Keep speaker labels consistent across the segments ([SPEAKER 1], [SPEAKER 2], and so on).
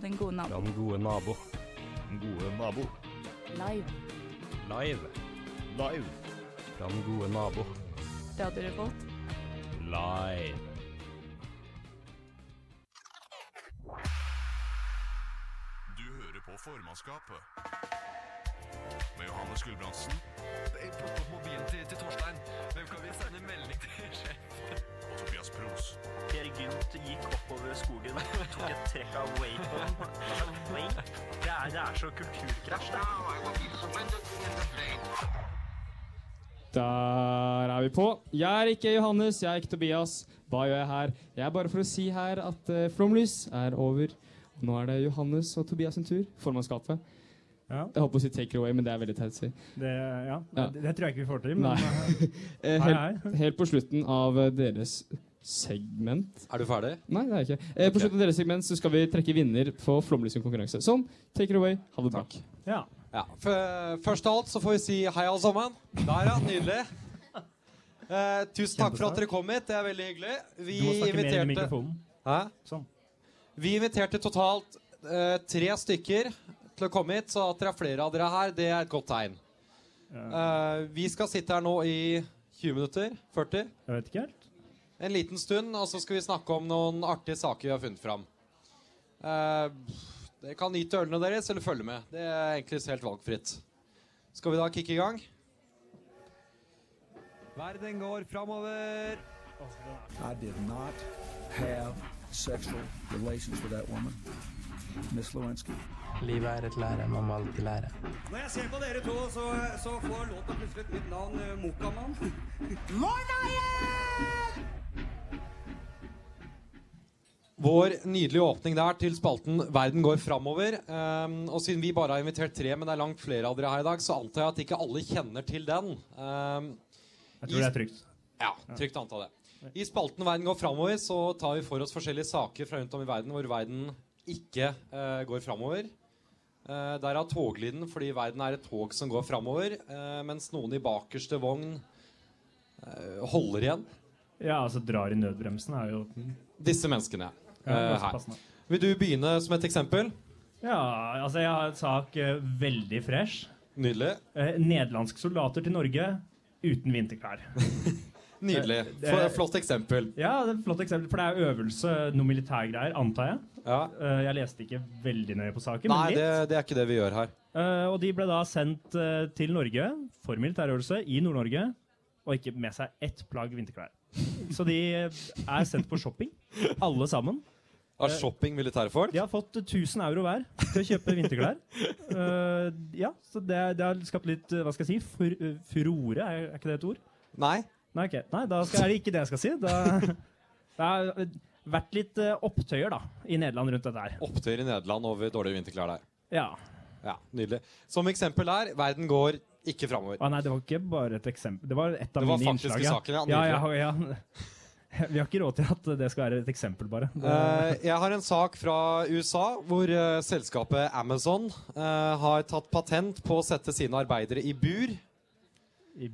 [SPEAKER 1] Den gode
[SPEAKER 2] Ja,
[SPEAKER 1] naboen.
[SPEAKER 2] den gode nabo.
[SPEAKER 3] Den gode nabo.
[SPEAKER 1] Live.
[SPEAKER 2] Live
[SPEAKER 3] Live.
[SPEAKER 2] fra den gode nabo.
[SPEAKER 1] Radio Revolt.
[SPEAKER 2] Live.
[SPEAKER 4] Du hører på formannskapet. Med Johannes Gulbrandsen
[SPEAKER 5] plukk opp mobilen til, til Torstein. Hvem kan vi sende melding til?
[SPEAKER 4] og Tobias Pros.
[SPEAKER 6] Per Gynt gikk oppover skogen og tok et trekk av wapen. Wake? Det er, det er så kulturkrasj. det.
[SPEAKER 7] Der er vi på. Jeg er ikke Johannes, jeg er ikke Tobias. Hva gjør jeg her? Jeg er bare for å si her at uh, Flomlys er over. Nå er det Johannes og Tobias sin tur. Formannskapet.
[SPEAKER 8] Ja.
[SPEAKER 7] Jeg holdt på å si take it away, men det er veldig teit å si.
[SPEAKER 8] Det, ja.
[SPEAKER 7] Ja.
[SPEAKER 8] Det, det tror jeg ikke vi får til. Men,
[SPEAKER 7] Nei. Eh,
[SPEAKER 8] Hei,
[SPEAKER 7] helt,
[SPEAKER 8] hei.
[SPEAKER 7] helt på slutten av eh, deres segment
[SPEAKER 9] Er du ferdig?
[SPEAKER 7] Nei, det er jeg ikke. Eh, På
[SPEAKER 9] Ok.
[SPEAKER 7] slutten av deres segment så skal vi trekke vinner på Flomlys sin konkurranse. Sånn. Take it away. Ha det bra.
[SPEAKER 9] Takk.
[SPEAKER 8] Ja.
[SPEAKER 9] Ja, f- Først av alt så får vi si hei, alle sammen. Der, ja. Nydelig. Eh, tusen takk for at dere kom hit. Det er veldig hyggelig. Vi
[SPEAKER 8] Du må snakke mer i
[SPEAKER 9] inviterte
[SPEAKER 8] mikrofonen.
[SPEAKER 9] Hæ?
[SPEAKER 8] Sånn.
[SPEAKER 9] Vi inviterte totalt eh, tre stykker til å komme hit, så at det er flere av dere her, det er et godt tegn.
[SPEAKER 8] Ja.
[SPEAKER 9] Eh, vi skal sitte her nå i 20 minutter. 40.
[SPEAKER 8] Jeg vet ikke helt.
[SPEAKER 9] En liten stund, og så skal vi snakke om noen artige saker vi har funnet fram. Eh, dere kan nyte ølene deres eller følge med. Det er egentlig helt valgfritt. Skal vi da kicke i gang? Verden går framover.
[SPEAKER 10] I did not have sexual relations with that woman, Miss Lewinsky.
[SPEAKER 6] Livet er et lære, man må alltid lære.
[SPEAKER 9] Når jeg ser på dere to, så, får låta plutselig et nytt navn. Mokamann. Vår nydelige åpning der til spalten Verden går framover. Ehm, og siden vi bare har invitert tre, men det er langt flere av dere her i dag, så antar jeg at ikke alle kjenner til den. Ehm,
[SPEAKER 8] Jeg tror det er trygt.
[SPEAKER 9] ja, trygt anta det. I spalten Verden går framover så tar vi for oss forskjellige saker fra rundt om i verden hvor verden ikke eh, går framover. Eh, Derav toglyden, fordi verden er et tog som går framover, eh, mens noen i bakerste vogn eh, holder igjen
[SPEAKER 8] Ja, altså drar i nødbremsen er jo
[SPEAKER 9] disse menneskene
[SPEAKER 8] ja,
[SPEAKER 9] eh,
[SPEAKER 8] ganske
[SPEAKER 9] her.
[SPEAKER 8] passende.
[SPEAKER 9] Vil du begynne som et eksempel?
[SPEAKER 8] Ja, altså jeg har en sak eh, veldig fresh.
[SPEAKER 9] Nydelig.
[SPEAKER 8] Eh, nederlandske soldater til Norge uten vinterklær.
[SPEAKER 9] Nydelig.
[SPEAKER 8] Det-
[SPEAKER 9] For, flott eksempel.
[SPEAKER 8] Ja, det er et flott eksempel, for det er øvelse, noe militærgreier, antar jeg.
[SPEAKER 9] Ja.
[SPEAKER 8] Eh, jeg leste ikke veldig nøye på saken,
[SPEAKER 9] Nei,
[SPEAKER 8] men litt.
[SPEAKER 9] det, det er ikke det vi gjør her.
[SPEAKER 8] Eh, og de ble da sendt eh, til Norge for militærøvelse i Nord-Norge, og ikke med seg ett plagg vinterklær. Så de er sendt på shopping, alle sammen.
[SPEAKER 9] Av shopping militærfolk?
[SPEAKER 8] De har fått 1000 euro hver til å kjøpe vinterklær. Eh, ja, så det, det har skapt litt, eh, hva skal jeg si, fur, eh, furore, er, er ikke det et ord?
[SPEAKER 9] Nei?
[SPEAKER 8] Nei, ok. Nei, da skal, er det ikke det jeg skal si. Da, det har eh, vært litt eh, opptøyer da, i Nederland rundt dette her.
[SPEAKER 9] Opptøyer i Nederland over dårlige vinterklær der.
[SPEAKER 8] Ja.
[SPEAKER 9] Ja, nydelig. Som eksempel her, verden går ikke framover.
[SPEAKER 8] Å nei, det var ikke bare et eksempel. Det var et av
[SPEAKER 9] Det var
[SPEAKER 8] mine
[SPEAKER 9] faktiske
[SPEAKER 8] innslag. ja.
[SPEAKER 9] saker, ja.
[SPEAKER 8] Ja, ja,
[SPEAKER 9] Nydelig.
[SPEAKER 8] ja. Vi har ikke råd til at det skal være et eksempel, bare.
[SPEAKER 9] Eh, jeg har en sak fra USA hvor eh, selskapet Amazon eh, har tatt patent på å sette sine arbeidere i bur,
[SPEAKER 8] I,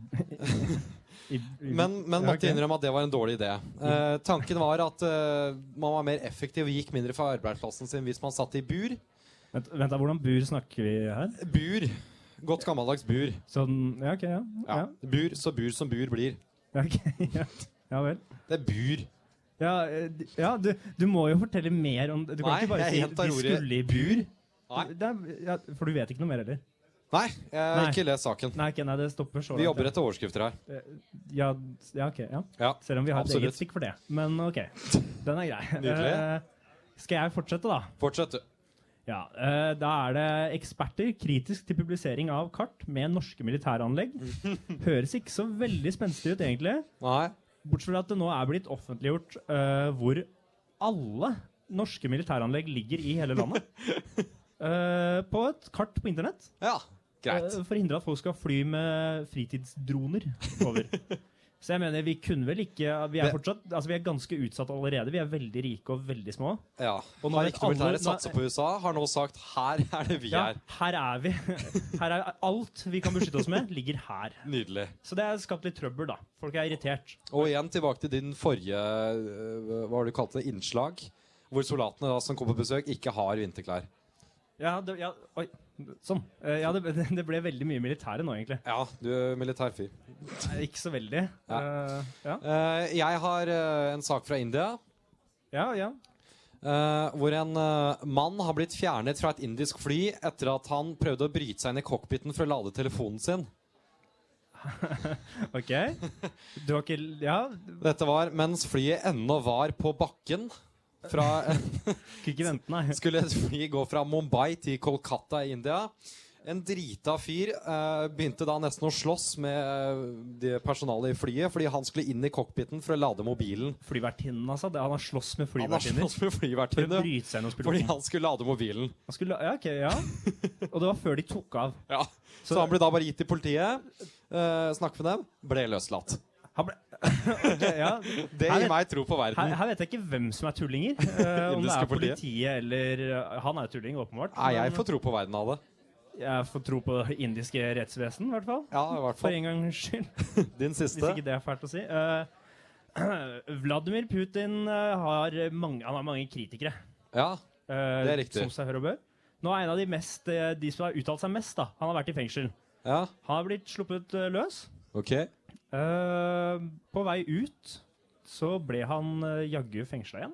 [SPEAKER 8] i, i,
[SPEAKER 9] men, men
[SPEAKER 8] Ja,
[SPEAKER 9] måtte
[SPEAKER 8] ok. Mm.
[SPEAKER 9] innrømme at det var en dårlig idé. Eh, tanken var at eh, man var mer effektiv og gikk mindre for arbeidsplassen sin hvis man satt i bur.
[SPEAKER 8] Vent, vent da, hvordan bur snakker vi her?
[SPEAKER 9] Bur. Godt gammeldags bur.
[SPEAKER 8] Sånn Ja, OK, ja. Ja,
[SPEAKER 9] Ja. Bur så bur som bur blir.
[SPEAKER 8] ja, ok, ja. ja vel.
[SPEAKER 9] Det er bur.
[SPEAKER 8] Ja, eh, d- ja du, du må jo fortelle mer om det. Du kan
[SPEAKER 9] Nei,
[SPEAKER 8] ikke bare
[SPEAKER 9] jeg
[SPEAKER 8] si
[SPEAKER 9] gjentar
[SPEAKER 8] de
[SPEAKER 9] ordet
[SPEAKER 8] skulle i bur.
[SPEAKER 9] Nei.
[SPEAKER 8] Det er, ja, for du vet ikke noe mer heller?
[SPEAKER 9] Nei, jeg har
[SPEAKER 8] Nei.
[SPEAKER 9] ikke lest saken.
[SPEAKER 8] Nei, ok, nei, det stopper så
[SPEAKER 9] Vi jobber
[SPEAKER 8] ja.
[SPEAKER 9] etter overskrifter her.
[SPEAKER 8] Ja, s- ja, ok, ja.
[SPEAKER 9] Ja,
[SPEAKER 8] Selv om vi har et
[SPEAKER 9] absolutt.
[SPEAKER 8] eget stikk for det. Men OK, den er grei.
[SPEAKER 9] Nydelig.
[SPEAKER 8] Eh, skal jeg fortsette, da?
[SPEAKER 9] Fortsett, du.
[SPEAKER 8] Ja, eh, Da er det eksperter kritisk til publisering av kart med norske militæranlegg. Høres ikke så veldig spenstig ut, egentlig.
[SPEAKER 9] Nei.
[SPEAKER 8] Bortsett fra at det nå er blitt offentliggjort eh, hvor alle norske militæranlegg ligger i hele landet. Eh, på et kart på internett.
[SPEAKER 9] Ja, greit.
[SPEAKER 8] Uh, forhindre at folk skal fly med fritidsdroner over. Så jeg mener, vi kunne vel ikke Vi er
[SPEAKER 9] Det-
[SPEAKER 8] fortsatt, altså vi er ganske utsatt allerede. Vi er veldig rike og veldig små.
[SPEAKER 9] Ja.
[SPEAKER 8] Og
[SPEAKER 9] Og
[SPEAKER 8] nå
[SPEAKER 9] når
[SPEAKER 8] vet
[SPEAKER 9] ikke
[SPEAKER 8] alle-
[SPEAKER 9] militære satser på USA, har nå sagt her er det vi
[SPEAKER 8] Ja,
[SPEAKER 9] er.
[SPEAKER 8] her er vi. Her er alt vi kan beskytte oss med, ligger her.
[SPEAKER 9] Nydelig.
[SPEAKER 8] Så det har skapt litt trøbbel, da. Folk er irritert.
[SPEAKER 9] eh, Og igjen tilbake til din forrige øh, Hva var det du kalte det? Innslag. hvor soldatene da, som kommer på besøk, ikke har vinterklær.
[SPEAKER 8] Ja, det, ja, oi, sånn. Eh, Ja, det, ble- det ble veldig mye militære nå, egentlig.
[SPEAKER 9] Ja, du er militær fyr.
[SPEAKER 8] Nei, Ikke så veldig. Eh, ja,
[SPEAKER 9] Eh, jeg har eh, en sak fra India.
[SPEAKER 8] ja. ja.
[SPEAKER 9] eh, hvor en eh, mann har blitt fjernet fra et indisk fly etter at han prøvde å bryte seg inn i cockpiten for å lade telefonen sin.
[SPEAKER 8] Ok. Du har ikke Ja,
[SPEAKER 9] Dette var mens flyet ennå var på bakken. Fra,
[SPEAKER 8] kunne ikke vente, nei.
[SPEAKER 9] skulle et fly gå fra Mumbai til Kolkata i India. En drita fyr eh, begynte da nesten å slåss med eh, det personalet i flyet fordi han skulle inn i cockpiten for å lade mobilen.
[SPEAKER 8] Flyvertinnen, altså. Det, han har slåss med
[SPEAKER 9] Han har
[SPEAKER 8] flyvertinner.
[SPEAKER 9] slåss med
[SPEAKER 8] For å
[SPEAKER 9] flyvertinne
[SPEAKER 8] bryte seg inn hos
[SPEAKER 9] fordi
[SPEAKER 8] piloten.
[SPEAKER 9] han skulle lade mobilen.
[SPEAKER 8] Han skulle, ja, ok, ja. Og det var før de tok av.
[SPEAKER 9] Ja. Så, han ble da bare gitt til politiet, eh, snakket med dem, ble løslatt.
[SPEAKER 8] Han ble, Ok, ja.
[SPEAKER 9] Det
[SPEAKER 8] Her
[SPEAKER 9] gir
[SPEAKER 8] vet-
[SPEAKER 9] meg tro på
[SPEAKER 8] Her,
[SPEAKER 9] verden.
[SPEAKER 8] her vet jeg ikke hvem som er tullinger. eh, om det
[SPEAKER 9] Indiske
[SPEAKER 8] er
[SPEAKER 9] politiet.
[SPEAKER 8] politiet eller eh, Han er jo tulling, åpenbart.
[SPEAKER 9] Nei, jeg
[SPEAKER 8] men
[SPEAKER 9] får tro på verden av det.
[SPEAKER 8] jeg får tro på det indiske rettsvesen, i hvert fall.
[SPEAKER 9] Ja, i hvert
[SPEAKER 8] For
[SPEAKER 9] fall.
[SPEAKER 8] en gangs skyld.
[SPEAKER 9] Din
[SPEAKER 8] Hvis
[SPEAKER 9] siste.
[SPEAKER 8] ikke det er fælt å si. Eh, Vladimir Putin eh, har mange, han har mange kritikere.
[SPEAKER 9] Ja,
[SPEAKER 8] eh,
[SPEAKER 9] Det er riktig.
[SPEAKER 8] Som seg hør og bør. Nå er en av de, mest, eh, de som har uttalt seg mest, da. Han har vært i fengsel.
[SPEAKER 9] ja,
[SPEAKER 8] Han har blitt sluppet eh, løs.
[SPEAKER 9] ok.
[SPEAKER 8] Eh, på vei ut så ble han eh, jaggu fengsla igjen.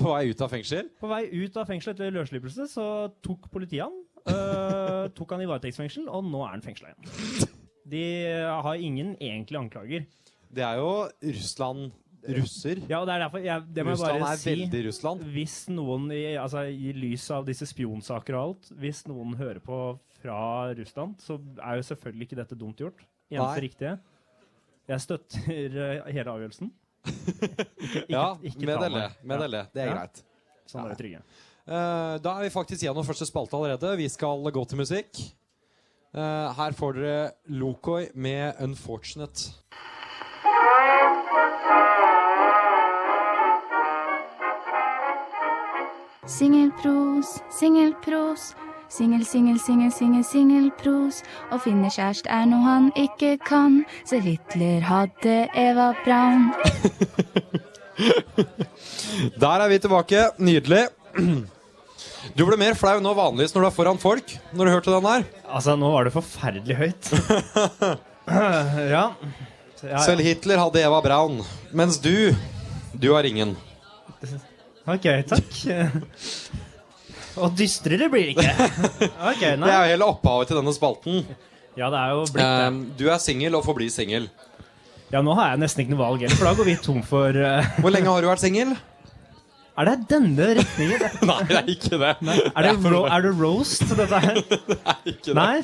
[SPEAKER 9] På vei ut av fengsel.
[SPEAKER 8] På vei ut av fengselet etter løsslipelse så tok politiet han. eh, tok han i varetektsfengsel, og nå er han fengsla igjen. De har ingen egentlige anklager.
[SPEAKER 9] Det er jo Russland Russer.
[SPEAKER 8] Ja, og det er derfor jeg, det må jeg
[SPEAKER 9] Russland
[SPEAKER 8] bare
[SPEAKER 9] er
[SPEAKER 8] si.
[SPEAKER 9] veldig Russland.
[SPEAKER 8] Hvis noen, i, altså i lys av disse spionsaker og alt, hvis noen hører på fra Russland, så er jo selvfølgelig ikke dette dumt gjort.
[SPEAKER 9] Nei.
[SPEAKER 8] Eneste riktige. Jeg støtter eh, hele avgjørelsen. Ikke,
[SPEAKER 9] Ja,
[SPEAKER 8] ikke
[SPEAKER 9] med
[SPEAKER 8] ta
[SPEAKER 9] det le.
[SPEAKER 8] meg.
[SPEAKER 9] Med det le. Det er
[SPEAKER 8] Ja.
[SPEAKER 9] greit.
[SPEAKER 8] Ja, sånn er vi trygge.
[SPEAKER 9] Eh, da er vi faktisk gjennom første spalte allerede. Vi skal gå til musikk. Eh, her får dere Lokoi med 'Unfortunate'.
[SPEAKER 11] Singelpros, singelpros. Singel, singel, singel, singel, singelpros. Å finne kjærest er noe han ikke kan, så Hitler hadde Eva Braun.
[SPEAKER 9] Der er vi tilbake. Nydelig. Du ble mer flau nå vanligvis når du er foran folk. Når du hørte den her
[SPEAKER 8] Altså, nå var det forferdelig høyt. ja. ja, ja.
[SPEAKER 9] Selv Hitler hadde Eva Braun. Mens du, du har ingen.
[SPEAKER 8] Ok, takk. Og dystrere blir det ikke. Ok,
[SPEAKER 9] Det
[SPEAKER 8] nei.
[SPEAKER 9] er jo hele opphavet til denne spalten.
[SPEAKER 8] Ja, det er jo blitt det.
[SPEAKER 9] Eh, du er singel og får bli singel.
[SPEAKER 8] Ja, nå har jeg nesten ikke noe valg heller, for da går vi tom for eh,
[SPEAKER 9] Hvor lenge har du vært singel?
[SPEAKER 8] Er det denne retningen?
[SPEAKER 9] Nei, det er ikke det.
[SPEAKER 8] Er det, ro er det roast, dette her?
[SPEAKER 9] Ikke det.
[SPEAKER 8] Nei?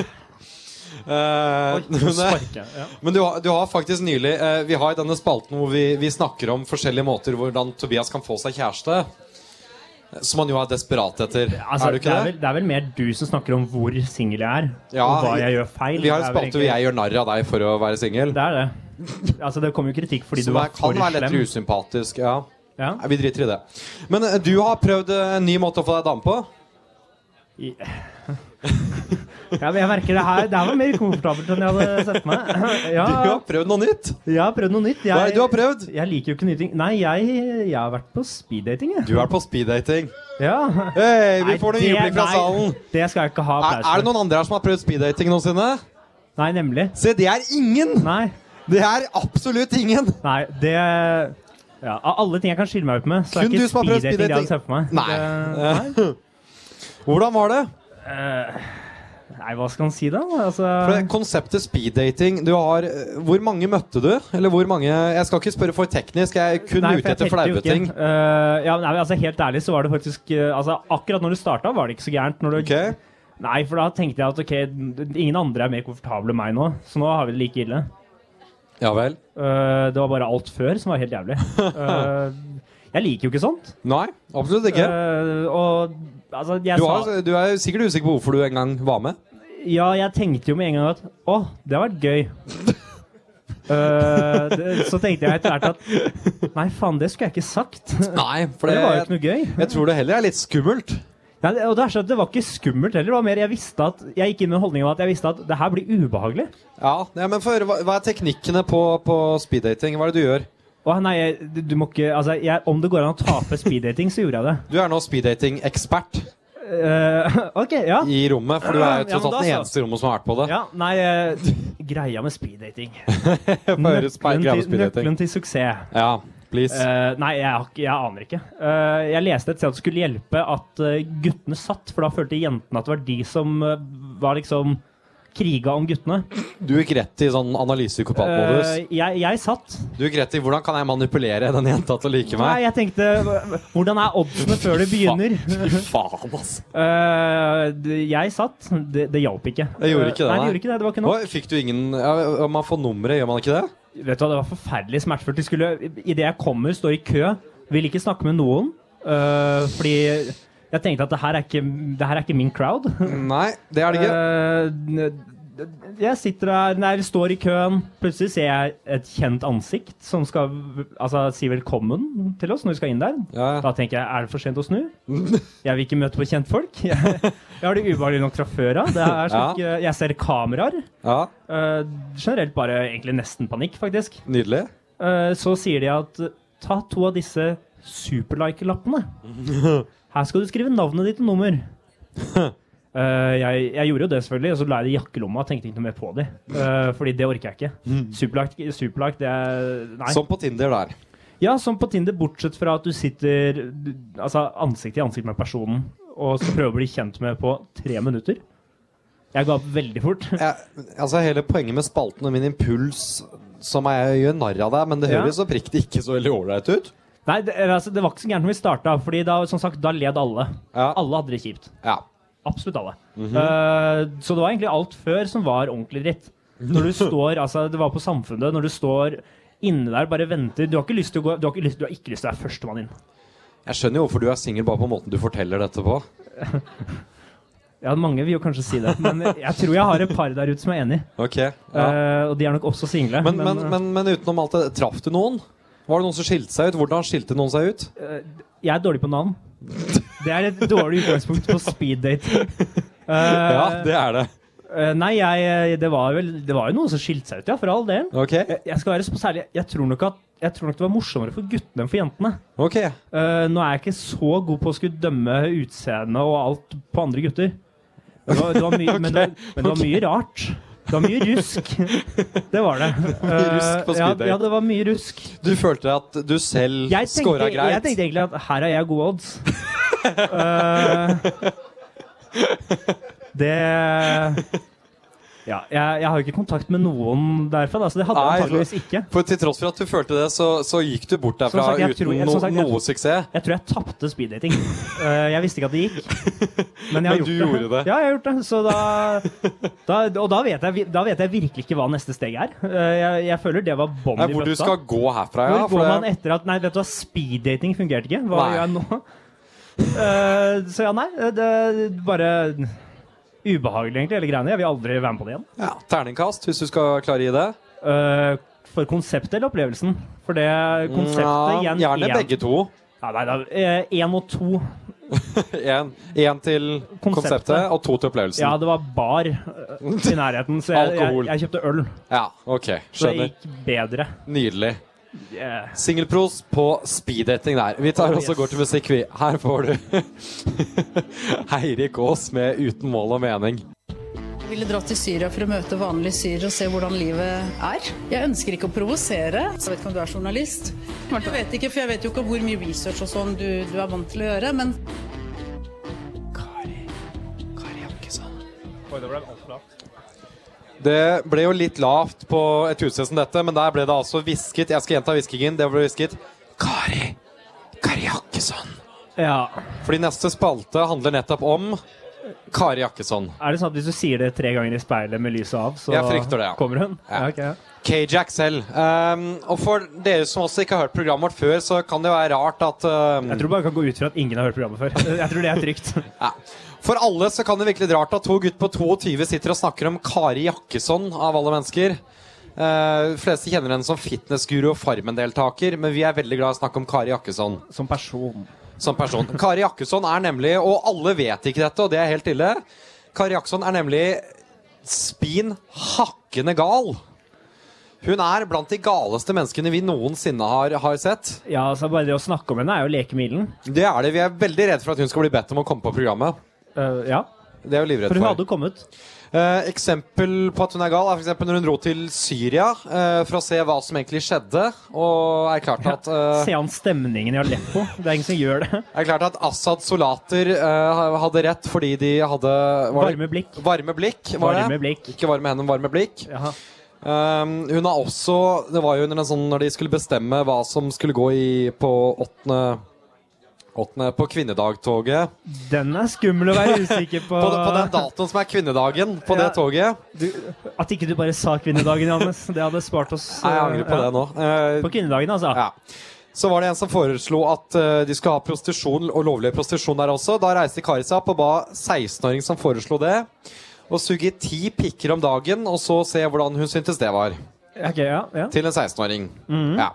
[SPEAKER 9] Eh,
[SPEAKER 8] Oi,
[SPEAKER 9] men,
[SPEAKER 8] nå sparker jeg. Ja.
[SPEAKER 9] men du, har, du har faktisk nylig eh, Vi har denne spalten hvor vi, vi snakker om forskjellige måter hvordan Tobias kan få seg kjæreste. eh, Som han jo er desperat etter.
[SPEAKER 8] Altså,
[SPEAKER 9] er du ikke
[SPEAKER 8] det, er
[SPEAKER 9] det?
[SPEAKER 8] vel, det er vel mer du som snakker om hvor singel jeg er,
[SPEAKER 9] Ja,
[SPEAKER 8] og hva jeg gjør feil.
[SPEAKER 9] Vi har en spalte
[SPEAKER 8] Det er vel
[SPEAKER 9] hvor
[SPEAKER 8] egentlig-
[SPEAKER 9] jeg gjør narr av deg for å være singel.
[SPEAKER 8] Det er det. Altså, det kommer jo kritikk fordi du
[SPEAKER 9] Som
[SPEAKER 8] var
[SPEAKER 9] er,
[SPEAKER 8] for
[SPEAKER 9] kan være
[SPEAKER 8] slem.
[SPEAKER 9] lettere usympatisk. Ja.
[SPEAKER 8] Ja.
[SPEAKER 9] Nei, vi driter i det. Men eh, du har prøvd eh, en ny måte å få deg dame på.
[SPEAKER 8] I- ja, men jeg merker det her Det her var mer komfortabelt enn jeg hadde sett meg. Ja,
[SPEAKER 9] Du har prøvd noe nytt.
[SPEAKER 8] jeg har prøvd noe nytt.
[SPEAKER 9] Hva er
[SPEAKER 8] Jeg,
[SPEAKER 9] det du har prøvd?
[SPEAKER 8] jeg liker jo ikke nye ting. Nei, jeg, jeg har vært på speeddating, jeg.
[SPEAKER 9] Du er på speeddating.
[SPEAKER 8] Ja.
[SPEAKER 9] Hei, vi
[SPEAKER 8] Nei,
[SPEAKER 9] får noen
[SPEAKER 8] det-
[SPEAKER 9] jubling fra
[SPEAKER 8] nei,
[SPEAKER 9] salen.
[SPEAKER 8] Det skal jeg ikke ha
[SPEAKER 9] Er, er
[SPEAKER 8] applaus
[SPEAKER 9] det
[SPEAKER 8] for.
[SPEAKER 9] noen andre her som har prøvd speeddating noensinne?
[SPEAKER 8] Nei, nemlig.
[SPEAKER 9] Se, det er ingen!
[SPEAKER 8] Nei,
[SPEAKER 9] Det er absolutt ingen!
[SPEAKER 8] nei, det ja, Av alle ting jeg kan skille meg ut med, så er
[SPEAKER 9] Kun
[SPEAKER 8] ikke
[SPEAKER 9] du som har prøvd
[SPEAKER 8] speeddating
[SPEAKER 9] speeddating.
[SPEAKER 8] det jeg hadde sett for meg.
[SPEAKER 9] Nei.
[SPEAKER 8] Det,
[SPEAKER 9] Hvordan var det?
[SPEAKER 8] eh, nei, hva skal man si da?
[SPEAKER 9] For det
[SPEAKER 8] Altså,
[SPEAKER 9] Konseptet speeddating du har eh, Hvor mange møtte du? Eller hvor mange Jeg skal ikke spørre for teknisk, jeg er kun
[SPEAKER 8] nei, for
[SPEAKER 9] ute
[SPEAKER 8] jeg
[SPEAKER 9] etter
[SPEAKER 8] telte jo
[SPEAKER 9] flaue
[SPEAKER 8] ikke.
[SPEAKER 9] ting.
[SPEAKER 8] Eh, ja, nei, men altså, helt ærlig så var det faktisk eh, altså, Akkurat når du starta, var det ikke så gærent. Når du,
[SPEAKER 9] Ok?
[SPEAKER 8] Nei, for da tenkte jeg at ok, ingen andre er mer komfortable enn meg nå, så nå har vi det like ille.
[SPEAKER 9] Ja vel.
[SPEAKER 8] Eh, det var bare alt før som var helt jævlig. Eh, jeg liker jo ikke sånt.
[SPEAKER 9] Nei, absolutt ikke.
[SPEAKER 8] Eh, og altså, jeg
[SPEAKER 9] Du,
[SPEAKER 8] sa
[SPEAKER 9] har, du er sikkert usikker på hvorfor du en gang var med.
[SPEAKER 8] Ja, jeg tenkte jo med en gang at å, det har vært gøy. Eh, det, så tenkte jeg etter hvert at nei, faen, det skulle jeg ikke sagt.
[SPEAKER 9] Nei, for
[SPEAKER 8] For
[SPEAKER 9] det,
[SPEAKER 8] det var jo ikke
[SPEAKER 9] jeg,
[SPEAKER 8] noe gøy.
[SPEAKER 9] jeg tror det heller er litt skummelt.
[SPEAKER 8] Nei, det- og det, er sånn at det var ikke skummelt heller. Det var mer jeg visste at Jeg gikk inn med den holdningen at jeg visste at det her blir ubehagelig.
[SPEAKER 9] Ja, ja men for, hva, hva er teknikkene på, på speeddating? Hva er det du gjør?
[SPEAKER 8] Å, nei, jeg, du- du må ikke Altså, jeg, om det går an å tape speeddating, så gjorde jeg det.
[SPEAKER 9] Du er nå speeddating-ekspert
[SPEAKER 8] Eh, OK, ja.
[SPEAKER 9] i rommet, for du er jo
[SPEAKER 8] Ja, men
[SPEAKER 9] tross alt
[SPEAKER 8] da
[SPEAKER 9] den
[SPEAKER 8] så.
[SPEAKER 9] eneste i rommet som har vært på det.
[SPEAKER 8] Ja, nei, eh, greia med speeddating
[SPEAKER 9] Bare speil- greia med
[SPEAKER 8] til,
[SPEAKER 9] speeddating.
[SPEAKER 8] nøkkelen til suksess.
[SPEAKER 9] Ja, please.
[SPEAKER 8] Eh, nei, jeg, har ikke- jeg aner ikke. Eh, jeg leste et sted at det skulle hjelpe at eh, guttene satt, for da følte jentene at det var de som eh, var liksom kriga om guttene.
[SPEAKER 9] Du gikk rett i sånn analysepsykopatmodus.
[SPEAKER 8] Eh, jeg, jeg satt.
[SPEAKER 9] Du gikk rett i 'hvordan kan jeg manipulere den jenta til å like
[SPEAKER 8] Nei,
[SPEAKER 9] meg'?
[SPEAKER 8] jeg tenkte hva- Hvordan er oddsene før det begynner?
[SPEAKER 9] Fy faen, altså.
[SPEAKER 8] Eh, det- jeg satt. Det, det hjalp ikke.
[SPEAKER 9] Jeg gjorde ikke det,
[SPEAKER 8] nei. det gjorde ikke det. Det var ikke nok.
[SPEAKER 9] Oi, fikk du ingen ja, Man får nummeret, gjør man ikke det?
[SPEAKER 8] Vet du hva, Det var forferdelig smertefullt. De skulle, Idet jeg kommer, står i kø, vil ikke snakke med noen. øh, fordi jeg tenkte at det her er ikke, det her er ikke min crowd.
[SPEAKER 9] Nei, det er det
[SPEAKER 8] ikke. Eh, jeg sitter der, nei, jeg står i køen. Plutselig ser jeg et kjent ansikt som skal altså, si velkommen til oss når vi skal inn der. Da tenker jeg er det for sent å snu? Jeg vil ikke møte på kjentfolk. Jeg, jeg har det ubehagelig nok fra før av. Det er
[SPEAKER 9] Ja.
[SPEAKER 8] slik, øh, Jeg ser kameraer.
[SPEAKER 9] Ja,
[SPEAKER 8] Eh, generelt bare egentlig nesten panikk, faktisk.
[SPEAKER 9] Nydelig.
[SPEAKER 8] Eh, så sier de at eh, ta to av disse superlike-lappene. Her skal du skrive navnet ditt og nummer. Eh, jeg, jeg gjorde jo det, selvfølgelig, og så la jeg det i jakkelomma og tenkte ikke noe mer på det. Eh, fordi det orker jeg ikke. Superlike, superlike det er Nei.
[SPEAKER 9] Som på Tinder der.
[SPEAKER 8] Ja, som på Tinder, bortsett fra at du sitter du, altså, ansikt til ansikt med personen og så prøver å bli kjent med på tre minutter. Jeg ga opp veldig fort.
[SPEAKER 9] Jeg, altså Hele poenget med spalten og min impuls, som er å gjøre narr av deg, men det
[SPEAKER 8] Ja.
[SPEAKER 9] høres oppriktig ikke så veldig ålreit ut.
[SPEAKER 8] Nei, det, eller, altså, det var ikke så gærent når vi starta, Fordi da, som sagt, da led alle. Alle hadde det kjipt. Absolutt alle.
[SPEAKER 9] Mhm.
[SPEAKER 8] Eh, så det var egentlig alt før som var ordentlig dritt. Når du står, altså Det var på Samfunnet. Når du står inne der bare venter Du har ikke lyst til å gå Du har ikke lyst, du har ikke lyst til å være førstemann inn.
[SPEAKER 9] Jeg skjønner jo hvorfor du er singel, bare på måten du forteller dette på.
[SPEAKER 8] Ja, Mange vil jo kanskje si det, men jeg tror jeg har et par der ute som er enig.
[SPEAKER 9] Ok
[SPEAKER 8] Eh, og de er nok også single.
[SPEAKER 9] men, men, men, men utenom alt det, traff du noen? Var det noen som skilte seg ut? Hvordan skilte noen seg ut?
[SPEAKER 8] Eh, jeg er dårlig på navn. Det er et dårlig utgangspunkt på Eh, speeddating.
[SPEAKER 9] ja, det er det.
[SPEAKER 8] Eh, nei, jeg, det var vel Det var jo noen som skilte seg ut, ja, for all del.
[SPEAKER 9] Ok.
[SPEAKER 8] Jeg, jeg skal være så særlig Jeg tror nok at jeg tror nok det var morsommere for guttene enn for jentene.
[SPEAKER 9] Ok.
[SPEAKER 8] Eh, nå er jeg ikke så god på å skulle dømme utseende og alt på andre gutter. Men det var, det var mye, men det, var- men det var mye rart. Det var mye rusk. Det var det.
[SPEAKER 9] Mye rusk på
[SPEAKER 8] Eh, ja,
[SPEAKER 9] speeddate.
[SPEAKER 8] ja, det var mye rusk.
[SPEAKER 9] Du følte at du selv
[SPEAKER 8] Jeg tenkte,
[SPEAKER 9] scora
[SPEAKER 8] jeg
[SPEAKER 9] greit?
[SPEAKER 8] tenkte egentlig at her er jeg gode odds. Eh, det Ja, jeg, jeg har jo ikke kontakt med noen derfra, da, så det hadde jeg
[SPEAKER 9] Nei,
[SPEAKER 8] antakeligvis
[SPEAKER 9] så-
[SPEAKER 8] ikke.
[SPEAKER 9] For til tross for at du følte det, så, så gikk du bort derfra
[SPEAKER 8] Som sagt, jeg
[SPEAKER 9] uten
[SPEAKER 8] tror- jeg-
[SPEAKER 9] no,
[SPEAKER 8] som sagt, jeg-
[SPEAKER 9] noe suksess?
[SPEAKER 8] Jeg tror jeg tapte speeddating. Eh, jeg visste ikke at det gikk. Men jeg har
[SPEAKER 9] Men du
[SPEAKER 8] gjort det.
[SPEAKER 9] gjorde det.
[SPEAKER 8] Ja, jeg har gjort det. Så da, da, og da vet, jeg, vi- da vet jeg virkelig ikke hva neste steg er. Eh, jeg, jeg føler det var bånn i
[SPEAKER 9] Nei,
[SPEAKER 8] bøtta.
[SPEAKER 9] hvor du skal gå herfra, ja.
[SPEAKER 8] Hvor
[SPEAKER 9] for
[SPEAKER 8] går
[SPEAKER 9] det-
[SPEAKER 8] man etter at Nei, vet du hva, speeddating fungerte ikke. Hva
[SPEAKER 9] Nei.
[SPEAKER 8] gjør jeg nå? Eh, så ja, nei. Det er bare ubehagelig, egentlig, hele greiene. Jeg vil aldri være med på det igjen.
[SPEAKER 9] ja, Terningkast, hvis du skal klare å gi det.
[SPEAKER 8] Eh, for konseptet eller opplevelsen? For det konseptet
[SPEAKER 9] Ja,
[SPEAKER 8] igjen
[SPEAKER 9] gjerne
[SPEAKER 8] igjen.
[SPEAKER 9] begge to.
[SPEAKER 8] Ja, nei, da, eh, en og to.
[SPEAKER 9] Én til konseptet. og to til opplevelsen.
[SPEAKER 8] Ja, det var bar eh, i nærheten, så jeg, jeg,
[SPEAKER 9] Alkohol.
[SPEAKER 8] jeg kjøpte øl.
[SPEAKER 9] Ja, OK.
[SPEAKER 8] Så det
[SPEAKER 9] Skjønner.
[SPEAKER 8] gikk bedre.
[SPEAKER 9] Nydelig.
[SPEAKER 8] Yeah.
[SPEAKER 9] Singelpros på speeddating der. Vi tar
[SPEAKER 8] Oh,
[SPEAKER 9] også
[SPEAKER 8] yes.
[SPEAKER 9] går til musikk, vi. Her får du Eirik Aas med 'Uten mål og mening'.
[SPEAKER 12] Jeg ville dra til Syria for å møte vanlige syrere og se hvordan livet er. Jeg ønsker ikke å provosere. Jeg vet ikke om du er journalist. Jeg vet ikke, for jeg vet jo ikke hvor mye research og sånn du, du er vant til å gjøre, men
[SPEAKER 8] sånn-
[SPEAKER 9] Det ble jo litt lavt på et utsted som dette, men der ble det altså hvisket. Jeg skal gjenta hviskingen. Det ble hvisket Kari Kari Jakkesson.
[SPEAKER 8] Ja.
[SPEAKER 9] Fordi neste spalte handler nettopp om Kari Jakkesson.
[SPEAKER 8] Er det sånn at hvis du sier det tre ganger i speilet med lyset av, så
[SPEAKER 9] Jeg frykter det, ja.
[SPEAKER 8] kommer hun? Ja. ok, ja.
[SPEAKER 9] K-Jack selv. Um, og for dere som også ikke har hørt programmet vårt før, så kan det jo være rart at um,
[SPEAKER 8] Jeg tror bare jeg kan gå ut fra at ingen har hørt programmet før. Jeg tror det er trygt.
[SPEAKER 9] ja. For alle så kan det virkelig være rart at to gutter på 22 sitter og snakker om Kari Jakkesson, av alle mennesker. Eh, de fleste kjenner henne som fitnessguru og Farmen-deltaker, men vi er veldig glad i å snakke om Kari Jakkesson.
[SPEAKER 8] Som person.
[SPEAKER 9] Som person. Kari Jakkesson er nemlig, og alle vet ikke dette, og det er helt ille, Kari Jakkesson er nemlig spin hakkende gal. Hun er blant de galeste menneskene vi noensinne har, har sett.
[SPEAKER 8] Ja, altså Bare det å snakke om henne er jo lekemiddelen.
[SPEAKER 9] Det er det. Vi er veldig redd for at hun skal bli bedt om å komme på programmet.
[SPEAKER 8] Eh, ja.
[SPEAKER 9] Det er vi livredd
[SPEAKER 8] For
[SPEAKER 9] for.
[SPEAKER 8] hun hadde jo kommet.
[SPEAKER 9] Eh, eksempel på at hun er gal, er for eksempel når hun dro til Syria eh, for å se hva som egentlig skjedde. Og er klart at eh,
[SPEAKER 8] Se an stemningen jeg har lett på. Det er ingen som gjør det.
[SPEAKER 9] Det er klart at Assad soldater eh, hadde rett fordi de hadde var det-
[SPEAKER 8] Varme blikk.
[SPEAKER 9] Varme blikk, var
[SPEAKER 8] Varme
[SPEAKER 9] det? Ikke varme hender, varme blikk. Um, hun har også Det var jo under en sånn når de skulle bestemme hva som skulle gå i på åttende Åttende på kvinnedagtoget.
[SPEAKER 8] Den er skummel å være usikker på.
[SPEAKER 9] På, de- på den datoen som er kvinnedagen på det
[SPEAKER 8] Ah. Ja.
[SPEAKER 9] toget.
[SPEAKER 8] At ikke du bare sa kvinnedagen, Johannes. Det hadde spart oss
[SPEAKER 9] Nei, jeg angrer på
[SPEAKER 8] ja.
[SPEAKER 9] det nå. Eh,
[SPEAKER 8] På kvinnedagen, altså.
[SPEAKER 9] Så var det en som foreslo at eh, de skulle ha prostitusjon og lovlig prostitusjon der også. Da reiste Kari seg opp og ba 16-åring som foreslo det, å suge ti pikker om dagen, og så se hvordan hun syntes det var.
[SPEAKER 8] Ok, ja, ja.
[SPEAKER 9] Til en 16-åring.
[SPEAKER 8] Mhm.
[SPEAKER 9] Ja.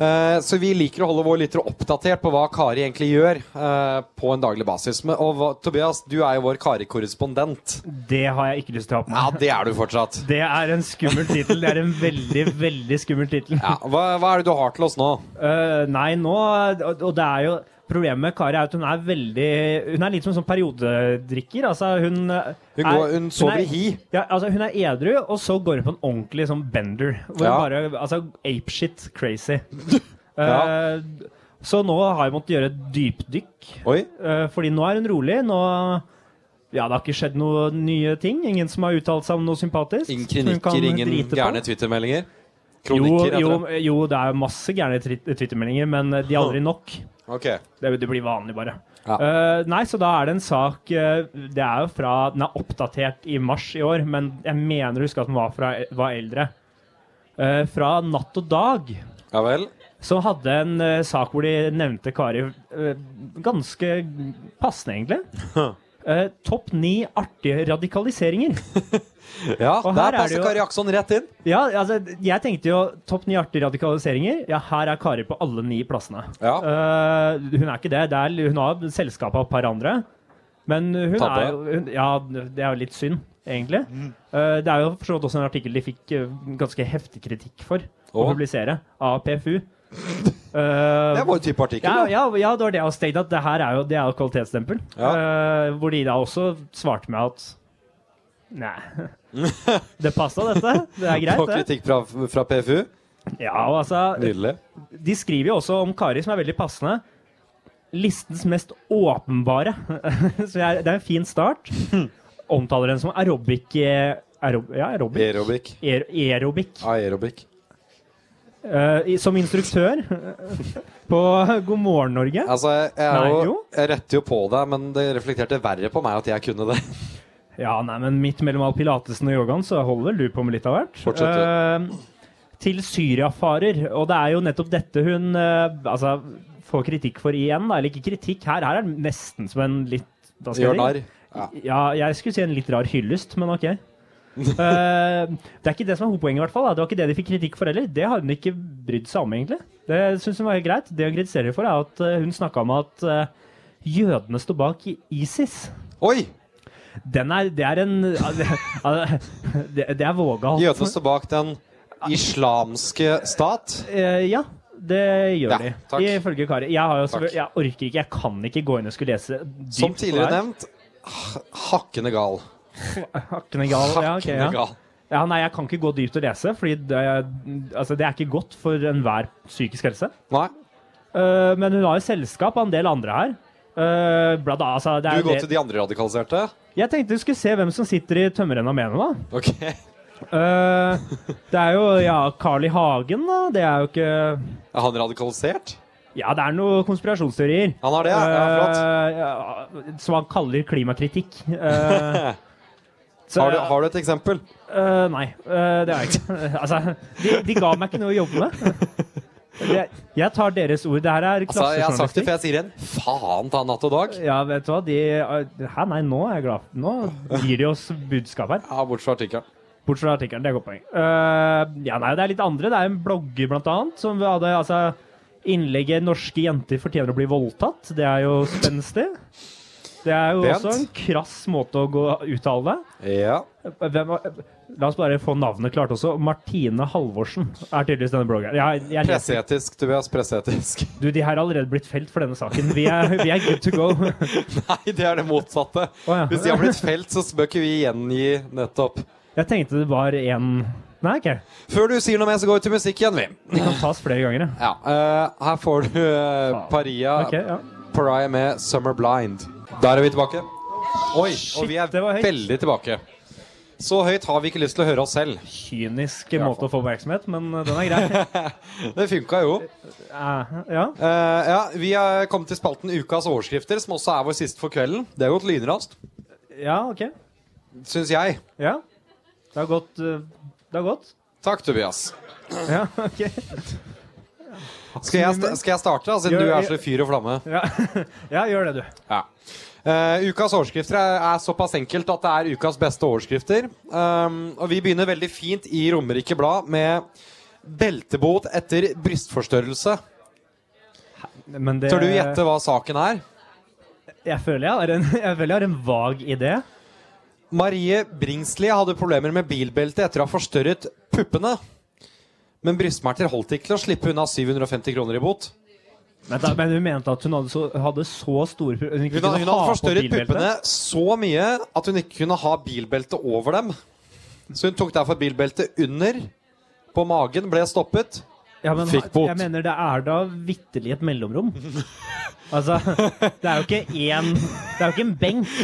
[SPEAKER 9] Eh, så vi liker å holde vår lytter oppdatert på hva Kari egentlig gjør eh, på en daglig basis. Men, og hva, Tobias, du er jo vår Kari-korrespondent.
[SPEAKER 8] Det har jeg ikke lyst til å ha på meg.
[SPEAKER 9] Ja, det er du fortsatt.
[SPEAKER 8] Det er en skummel tittel. Det er en veldig, veldig skummel tittel.
[SPEAKER 9] hva, er det du har til oss nå?
[SPEAKER 8] Eh, nei, nå Og og det er jo Problemet med Kari er at hun er veldig Hun er litt som en sånn periodedrikker. Altså, hun eh,
[SPEAKER 9] Hun
[SPEAKER 8] er-
[SPEAKER 9] går- hun sover
[SPEAKER 8] er-
[SPEAKER 9] i hi.
[SPEAKER 8] Ja, altså, hun er edru, og så går hun på en ordentlig sånn bender. Hvor
[SPEAKER 9] Ja.
[SPEAKER 8] hun bare Altså, apeshit crazy.
[SPEAKER 9] Ja.
[SPEAKER 8] Eh, så nå har jeg måttet gjøre et dypdykk.
[SPEAKER 9] Oi.
[SPEAKER 8] Eh, fordi nå er hun rolig. Nå Ja, det har ikke skjedd noen nye ting. Ingen som har uttalt seg om noe sympatisk.
[SPEAKER 9] Ingen
[SPEAKER 8] Hun kan
[SPEAKER 9] kronikker, ingen
[SPEAKER 8] drite på.
[SPEAKER 9] gærne Twitter-meldinger?
[SPEAKER 8] Jo,
[SPEAKER 9] Kronikker,
[SPEAKER 8] jo,
[SPEAKER 9] heter det.
[SPEAKER 8] jo, det er masse gærne trit- twittermeldinger, men eh, de er aldri nok.
[SPEAKER 9] Ok.
[SPEAKER 8] Det, det blir vanlig, bare.
[SPEAKER 9] Ja.
[SPEAKER 8] Eh, nei, så da er det en sak eh, Det er jo fra Den er oppdatert i mars i år, men jeg mener å huske at den var, fra, var eldre. Eh, fra Natt og Dag.
[SPEAKER 9] Ja vel.
[SPEAKER 8] Som hadde en eh, sak hvor de nevnte Kari eh, ganske passende, egentlig. Eh, Topp ni artige radikaliseringer.
[SPEAKER 9] Ja,
[SPEAKER 8] Og her
[SPEAKER 9] der
[SPEAKER 8] er det
[SPEAKER 9] passer
[SPEAKER 8] jo-
[SPEAKER 9] Kari Akson rett inn.
[SPEAKER 8] Ja, altså, jeg tenkte jo topp ni artige radikaliseringer. Ja, her er Kari på alle ni plassene. Eh, hun er ikke det. det er, hun har selskap av et par andre. Men hun
[SPEAKER 9] Tabbe.
[SPEAKER 8] er jo hun, Ja, det er jo litt synd, egentlig. Eh, det er jo for så vidt også en artikkel de fikk eh, ganske heftig kritikk for å
[SPEAKER 9] Å.
[SPEAKER 8] publisere, av PFU.
[SPEAKER 9] Det var jo type artikkel,
[SPEAKER 8] Eh, Ja,
[SPEAKER 9] da.
[SPEAKER 8] ja, ja, det var det jeg også tenkte, at det her er jo, det er jo kvalitetsstempel. Eh, hvor de da også svarte med at Nei. Det passa, dette. Det er greit,
[SPEAKER 9] På
[SPEAKER 8] det.
[SPEAKER 9] kritikk fra, fra PFU.
[SPEAKER 8] Ja, og altså
[SPEAKER 9] Nydelig.
[SPEAKER 8] De skriver jo også om Kari, som er veldig passende. Listens mest åpenbare. Så jeg er- det er en fin start. Omtaler den som aerobic eh, aerob, Ja, aerobic.
[SPEAKER 9] Aerobic.
[SPEAKER 8] Aer, aerobic.
[SPEAKER 9] Aerobic.
[SPEAKER 8] Eh, i- som instruktør på God morgen, Norge.
[SPEAKER 9] Altså, jeg, er
[SPEAKER 8] Nei,
[SPEAKER 9] jo, jeg retter jo på deg, men det reflekterte verre på meg at jeg kunne det.
[SPEAKER 8] Ja, nei, men midt mellom all pilatesen og yogaen, så holder vel du på med litt av hvert.
[SPEAKER 9] Fortsett,
[SPEAKER 8] Eh, til Syriafarer. Og det er jo nettopp dette hun eh, altså, får kritikk for igjen. Da. Eller ikke kritikk her, her er det nesten som en litt hva skal jeg
[SPEAKER 9] Gjør
[SPEAKER 8] si?
[SPEAKER 9] narr. Ja.
[SPEAKER 8] Ja, jeg skulle si en litt rar hyllest, men ok. Eh, det er ikke det som er hovedpoenget, i hvert fall. Da. Det var ikke det de fikk kritikk for heller. Det har hun ikke brydd seg om, egentlig. Det syns hun var helt greit. Det hun kritiserer for, er at eh, hun snakka om at eh, jødene står bak i- ISIS.
[SPEAKER 9] Oi!
[SPEAKER 8] Den er, det er en Det, det er vågalt.
[SPEAKER 9] Jødene står bak den islamske stat.
[SPEAKER 8] Eh, ja, det gjør
[SPEAKER 9] Ja,
[SPEAKER 8] de.
[SPEAKER 9] takk.
[SPEAKER 8] Ifølge Kari. Jeg, har jo
[SPEAKER 9] Takk.
[SPEAKER 8] selvfølgelig- jeg orker ikke, jeg kan ikke gå inn og skulle lese dypt
[SPEAKER 9] Som tidligere
[SPEAKER 8] på det her.
[SPEAKER 9] nevnt, ha- hakkende gal.
[SPEAKER 8] Hakkende gal. Ja, ok,
[SPEAKER 9] Hakkende
[SPEAKER 8] ja.
[SPEAKER 9] gal.
[SPEAKER 8] ja, nei, jeg kan ikke gå dypt og lese, fordi det, er- altså, det er ikke godt for enhver psykisk helse. Eh,
[SPEAKER 9] Nei.
[SPEAKER 8] men hun har jo selskap av en del andre her. Eh, blant annet, altså, det er
[SPEAKER 9] Du
[SPEAKER 8] jo
[SPEAKER 9] går til
[SPEAKER 8] det-
[SPEAKER 9] de andre radikaliserte?
[SPEAKER 8] Jeg tenkte du skulle se hvem som sitter i tømmerrenna med henne, da.
[SPEAKER 9] Ok.
[SPEAKER 8] Eh, det er jo ja, Carl I. Hagen, da. Det er jo ikke
[SPEAKER 9] Er han radikalisert?
[SPEAKER 8] Ja, det er noen konspirasjonsteorier. Eh,
[SPEAKER 9] Han har det, ja.
[SPEAKER 8] ja, flott. som han kaller klimakritikk. Eh, så-
[SPEAKER 9] har, du, har du et eksempel?
[SPEAKER 8] eh, nei, eh, det har jeg ikke. altså, de, de ga meg ikke noe å jobbe med. Det, jeg tar deres ord. Det her er
[SPEAKER 9] Altså, jeg har sagt det,
[SPEAKER 8] klassejournalistikk.
[SPEAKER 9] for jeg sier en faen ta natt og dag.
[SPEAKER 8] Ja, vet du hva. De, eh, hæ, nei, nå er jeg glad. Nå gir de oss budskap her.
[SPEAKER 9] Ja, Bortsett fra artikkelen.
[SPEAKER 8] Bortsett fra artikkelen. Det er et godt poeng. Eh, ja, nei, det er litt andre. Det er en blogger, blant annet, som hadde altså, innlegget 'Norske jenter fortjener å bli voldtatt'. Det er jo spenstig. Det er jo
[SPEAKER 9] Pent.
[SPEAKER 8] også en krass måte å gå uttale det.
[SPEAKER 9] Ja.
[SPEAKER 8] Hvem, var- la oss bare få navnet klart også. Martine Halvorsen er tydeligvis denne bloggeren. Jeg, jeg leser-
[SPEAKER 9] Presseetisk, Tobias. Presseetisk.
[SPEAKER 8] du, de her har allerede blitt felt for denne saken. Vi er, vi er good to go.
[SPEAKER 9] Nei, det er det motsatte. Hvis de har blitt felt, så bør ikke vi gjengi nettopp.
[SPEAKER 8] Jeg tenkte det var en Nei, ok.
[SPEAKER 9] Før du sier noe mer, så går vi til musikk igjen, vi.
[SPEAKER 8] De kan tas flere ganger, ja.
[SPEAKER 9] Ja, eh, her får du eh, Paria
[SPEAKER 8] Ok, ja.
[SPEAKER 9] Pariah med 'Summer Blind'. Der er vi tilbake. Oi, og vi er veldig tilbake. Så høyt har vi ikke lyst til å høre oss selv.
[SPEAKER 8] Kynisk måte å få oppmerksomhet, men eh, den er grei.
[SPEAKER 9] Det funka jo. Eh,
[SPEAKER 8] ja.
[SPEAKER 9] ja. Vi er kommet til spalten Ukas overskrifter, som også er vår siste for kvelden. Det har gått lynraskt,
[SPEAKER 8] Ja, ok.
[SPEAKER 9] syns jeg.
[SPEAKER 8] Ja. Det har gått eh, Det har gått.
[SPEAKER 9] Takk, Tobias.
[SPEAKER 8] Ja, ok.
[SPEAKER 9] Skal jeg, sta- skal jeg starte, da, siden
[SPEAKER 8] Gjør-
[SPEAKER 9] du er så fyr og flamme?
[SPEAKER 8] Ja. ja, gjør det, du.
[SPEAKER 9] Ja. Eh, ukas overskrifter er, er såpass enkelt at det er ukas beste overskrifter. Um, og vi begynner veldig fint i Romerike Blad med 'Beltebot etter brystforstørrelse'.
[SPEAKER 8] Men det
[SPEAKER 9] Tør du gjette hva saken er?
[SPEAKER 8] Jeg føler jeg har en, jeg føler jeg har en vag idé.
[SPEAKER 9] Marie Bringsli hadde problemer med bilbelte etter å ha forstørret puppene. Men brystsmerter holdt ikke til å slippe unna 750 kroner i bot.
[SPEAKER 8] Men, da, men hun mente at hun hadde så, hadde så store pro- Hun, ikke
[SPEAKER 9] Hun,
[SPEAKER 8] kunne
[SPEAKER 9] hun
[SPEAKER 8] ha
[SPEAKER 9] hadde
[SPEAKER 8] på
[SPEAKER 9] forstørret
[SPEAKER 8] bilbeltet.
[SPEAKER 9] puppene så mye at hun ikke kunne ha bilbelte over dem. Så hun tok derfor bilbeltet under på magen, ble stoppet.
[SPEAKER 8] Ja, men
[SPEAKER 9] Fikk bot.
[SPEAKER 8] Jeg mener, det er da vitterlig et mellomrom. altså, det er jo ikke én Det er jo ikke en benk.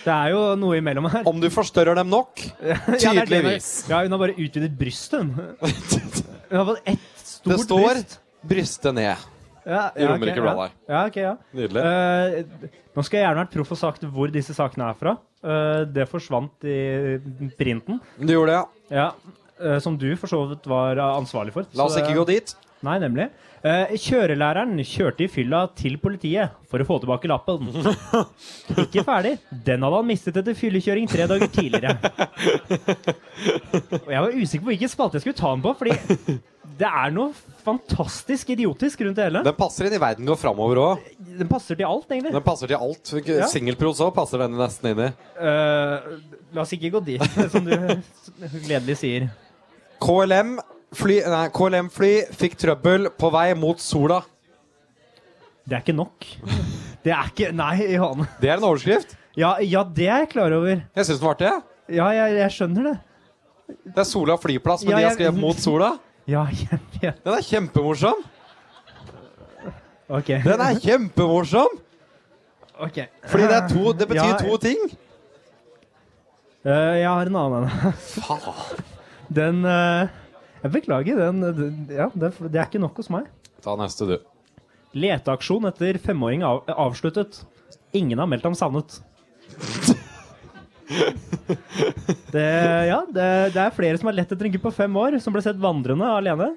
[SPEAKER 8] Det er jo noe imellom her.
[SPEAKER 9] Om du forstørrer dem nok? Tydeligvis.
[SPEAKER 8] Ja, hun har bare utvidet brystet, hun. Hun har fått ett stort
[SPEAKER 9] Det står
[SPEAKER 8] bryst.
[SPEAKER 9] 'bryste ned'.
[SPEAKER 8] Ja,
[SPEAKER 9] I Romerike
[SPEAKER 8] ok,
[SPEAKER 9] Blad
[SPEAKER 8] ja. Ja, ok, ja.
[SPEAKER 9] Nydelig.
[SPEAKER 8] Eh, nå skulle jeg gjerne vært proff og sagt hvor disse sakene er fra. Eh, det forsvant i printen.
[SPEAKER 9] Du gjorde det,
[SPEAKER 8] ja. eh, som du for så vidt var eh, ansvarlig for.
[SPEAKER 9] La oss
[SPEAKER 8] Så eh, det-
[SPEAKER 9] ikke gå dit.
[SPEAKER 8] Nei, nemlig. Eh, kjørelæreren kjørte i fylla til politiet for å få tilbake lappen. Ikke ferdig. Den hadde han mistet etter fyllekjøring tre dager tidligere. Og jeg var usikker på hvilken spalte jeg skulle ta den på, fordi det er noe fantastisk idiotisk rundt det hele.
[SPEAKER 9] Den passer inn i verden går framover òg.
[SPEAKER 8] Den passer til alt, egentlig.
[SPEAKER 9] Den passer til alt.
[SPEAKER 8] Ja.
[SPEAKER 9] Singelpros òg passer den nesten inn i.
[SPEAKER 8] Eh, la oss ikke gå dit, som du gledelig sier.
[SPEAKER 9] KLM fly, nei, KLM fly fikk trøbbel på vei mot sola.
[SPEAKER 8] Det er ikke nok. Det er ikke Nei, Johan.
[SPEAKER 9] Det er en overskrift.
[SPEAKER 8] Ja, ja det er jeg klar over.
[SPEAKER 9] Jeg syns den var artig. jeg.
[SPEAKER 8] Ja, jeg, jeg skjønner det.
[SPEAKER 9] Det er Sola flyplass, men de
[SPEAKER 8] Ja,
[SPEAKER 9] har
[SPEAKER 8] jeg-
[SPEAKER 9] skrevet 'mot sola'.
[SPEAKER 8] Ja, jeg vet.
[SPEAKER 9] Den er kjempemorsom!
[SPEAKER 8] Ok.
[SPEAKER 9] Den er kjempemorsom!
[SPEAKER 8] Ok.
[SPEAKER 9] Fordi det, er to, det betyr
[SPEAKER 8] Ja.
[SPEAKER 9] to ting.
[SPEAKER 8] Eh, jeg har en annen en. Den eh, Jeg beklager, den, den Ja, det, det er ikke nok hos meg.
[SPEAKER 9] Ta neste, du.
[SPEAKER 8] Leteaksjon etter femåring av, avsluttet. Ingen har meldt ham savnet. Det, ja, det, det er flere som har lett etter en gutt på fem år, som ble sett vandrende alene.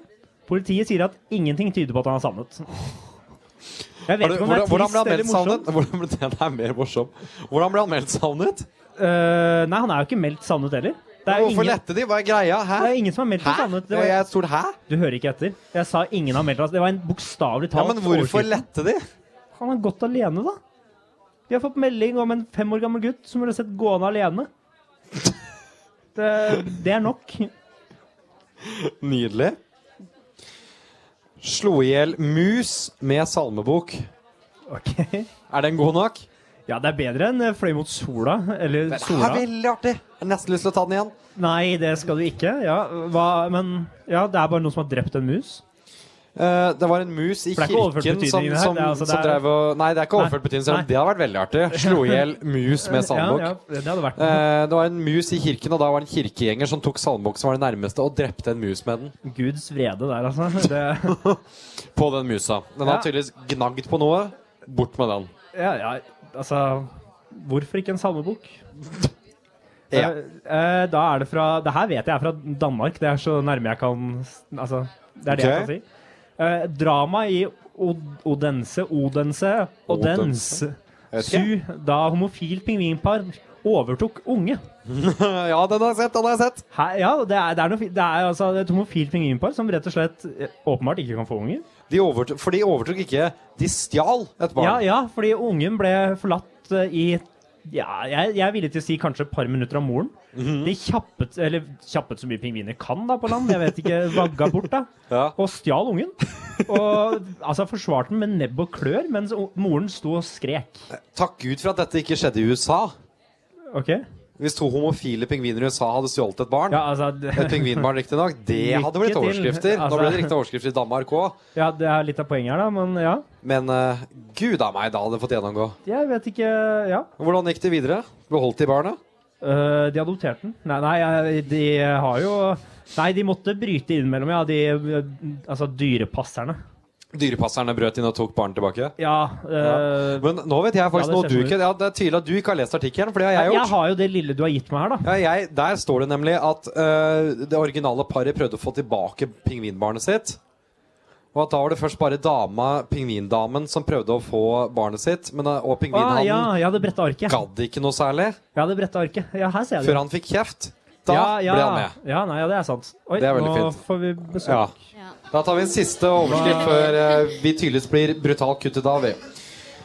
[SPEAKER 8] Politiet sier at ingenting tyder på at han er savnet. Jeg
[SPEAKER 9] Har
[SPEAKER 8] vet
[SPEAKER 9] du-
[SPEAKER 8] ikke om det
[SPEAKER 9] hvordan-
[SPEAKER 8] er
[SPEAKER 9] hvordan ble han
[SPEAKER 8] trist eller
[SPEAKER 9] meldt savnet?
[SPEAKER 8] morsomt.
[SPEAKER 9] Hvordan ble den er mer morsom. Hvordan ble han meldt savnet?
[SPEAKER 8] Eh, nei, han er jo ikke meldt savnet heller. Det er jo
[SPEAKER 9] Hvorfor lette de? Hva er greia? Hæ?
[SPEAKER 8] Det er ingen som har meldt ham savnet. Det var-
[SPEAKER 9] Jeg er et stort hæ?
[SPEAKER 8] Du hører ikke etter. Jeg sa ingen har meldt ham. Det var en bokstavelig
[SPEAKER 9] Ja,
[SPEAKER 8] talt
[SPEAKER 9] men hvorfor
[SPEAKER 8] overskrift.
[SPEAKER 9] lette de?
[SPEAKER 8] Han har gått alene, da. Vi har fått melding om en fem år gammel gutt som ble sett gående alene. Det, det er nok.
[SPEAKER 9] Nydelig. Slo i hjel mus med salmebok.
[SPEAKER 8] Ok.
[SPEAKER 9] Er den god nok?
[SPEAKER 8] Ja, det er bedre enn eh, fløy mot sola. Eller
[SPEAKER 9] Den
[SPEAKER 8] sola.
[SPEAKER 9] er veldig artig! Jeg har nesten lyst til å ta den igjen.
[SPEAKER 8] Nei, det skal du ikke. Ja, hva, men ja, det er bare noen som har drept en mus.
[SPEAKER 9] Eh, det var en mus i
[SPEAKER 8] For det er ikke overført
[SPEAKER 9] kirken som,
[SPEAKER 8] betydning her,
[SPEAKER 9] som,
[SPEAKER 8] det er altså- det
[SPEAKER 9] som
[SPEAKER 8] er-
[SPEAKER 9] drev og Nei, det er ikke
[SPEAKER 8] Nei,
[SPEAKER 9] overført betydning,
[SPEAKER 8] nei.
[SPEAKER 9] selv om det hadde vært veldig artig. Slo i hjel mus med salmebok.
[SPEAKER 8] Ja, ja, det hadde vært
[SPEAKER 9] Eh, det var en mus i kirken, og da var det en kirkegjenger som tok salmebok som var det nærmeste, og drepte en mus med den.
[SPEAKER 8] Guds vrede der, altså. Det,
[SPEAKER 9] På den musa. Den
[SPEAKER 8] Ja.
[SPEAKER 9] har tydeligvis gnagd på noe. Bort med den.
[SPEAKER 8] ja, ja, altså Hvorfor ikke en salmebok?
[SPEAKER 9] Ja.
[SPEAKER 8] Eh, eh, da er det fra Det her vet jeg er fra Danmark. Det er så nærme jeg kan s- Altså, det er det jeg
[SPEAKER 9] Ok.
[SPEAKER 8] kan si. Eh, drama i Od Odense Odense Odens.
[SPEAKER 9] Odense? Jeg vet
[SPEAKER 8] Su, da homofilt pingvinpar overtok unge.
[SPEAKER 9] Eh, ja, den har jeg sett! Den har jeg sett!
[SPEAKER 8] Hæ? ja, det er, det er, noe, fi- det er altså et homofilt pingvinpar som rett og slett eh, åpenbart ikke kan få unger.
[SPEAKER 9] De overtok, for de overtok ikke De stjal et barn.
[SPEAKER 8] Ja, ja, fordi ungen ble forlatt gått eh, i ja, jeg, jeg er villig til å si kanskje et par minutter om moren.
[SPEAKER 9] Mhm.
[SPEAKER 8] De kjappet eller kjappet så mye pingviner kan da på land, jeg vet ikke, vagga bort da. Og stjal ungen. Og altså forsvarte den med nebb og klør mens o- moren sto og skrek.
[SPEAKER 9] Takk Gud for at dette ikke skjedde i USA.
[SPEAKER 8] Ok.
[SPEAKER 9] Hvis to homofile pingviner i USA hadde stjålet et barn,
[SPEAKER 8] altså, det-
[SPEAKER 9] et pingvinbarn riktignok, det hadde blitt
[SPEAKER 8] Lykke til.
[SPEAKER 9] overskrifter.
[SPEAKER 8] Altså-
[SPEAKER 9] Nå ble det riktig overskrifter i Danmark òg.
[SPEAKER 8] Ja, det er litt av poenget her, da, men ja.
[SPEAKER 9] Men eh, gud a meg, da hadde det fått gjennomgå.
[SPEAKER 8] Jeg vet ikke Ja.
[SPEAKER 9] Hvordan gikk det videre? Beholdt de barnet?
[SPEAKER 8] Eh, de adopterte den. Nei, nei, jeg- de har jo Nei, de måtte bryte innimellom, ja. De eh, Altså dyrepasserne.
[SPEAKER 9] Dyrepasserne brøt inn og tok barnet tilbake?
[SPEAKER 8] Ja. eh,
[SPEAKER 9] Ja. Men nå vet jeg faktisk
[SPEAKER 8] Ja, det
[SPEAKER 9] noe du
[SPEAKER 8] stemmer.
[SPEAKER 9] ikke ja, Det er tydelig at du ikke har lest artikkelen, for det har
[SPEAKER 8] jeg,
[SPEAKER 9] jeg gjort.
[SPEAKER 8] har jo det lille du har gitt meg her, da.
[SPEAKER 9] Ja, jeg, der står det nemlig at eh, det originale paret prøvde å få tilbake pingvinbarnet sitt. Og at da var det først bare dama, pingvindamen som prøvde å få barnet sitt. Men, eh, og
[SPEAKER 8] Ah,
[SPEAKER 9] pingvinhannen
[SPEAKER 8] ja, jeg hadde bretta arket.
[SPEAKER 9] gadd ikke noe særlig
[SPEAKER 8] Jeg hadde bretta arket. Ja, her ser jeg det.
[SPEAKER 9] før han fikk kjeft. Da
[SPEAKER 8] Ja, ja.
[SPEAKER 9] ble han med.
[SPEAKER 8] Ja, nei, ja, det er sant. Oi,
[SPEAKER 9] Det er veldig
[SPEAKER 8] nå
[SPEAKER 9] fint.
[SPEAKER 8] får vi besøk.
[SPEAKER 9] Ja. Da tar vi en siste overskrift før eh, vi tydeligvis blir brutalt kuttet av. vi.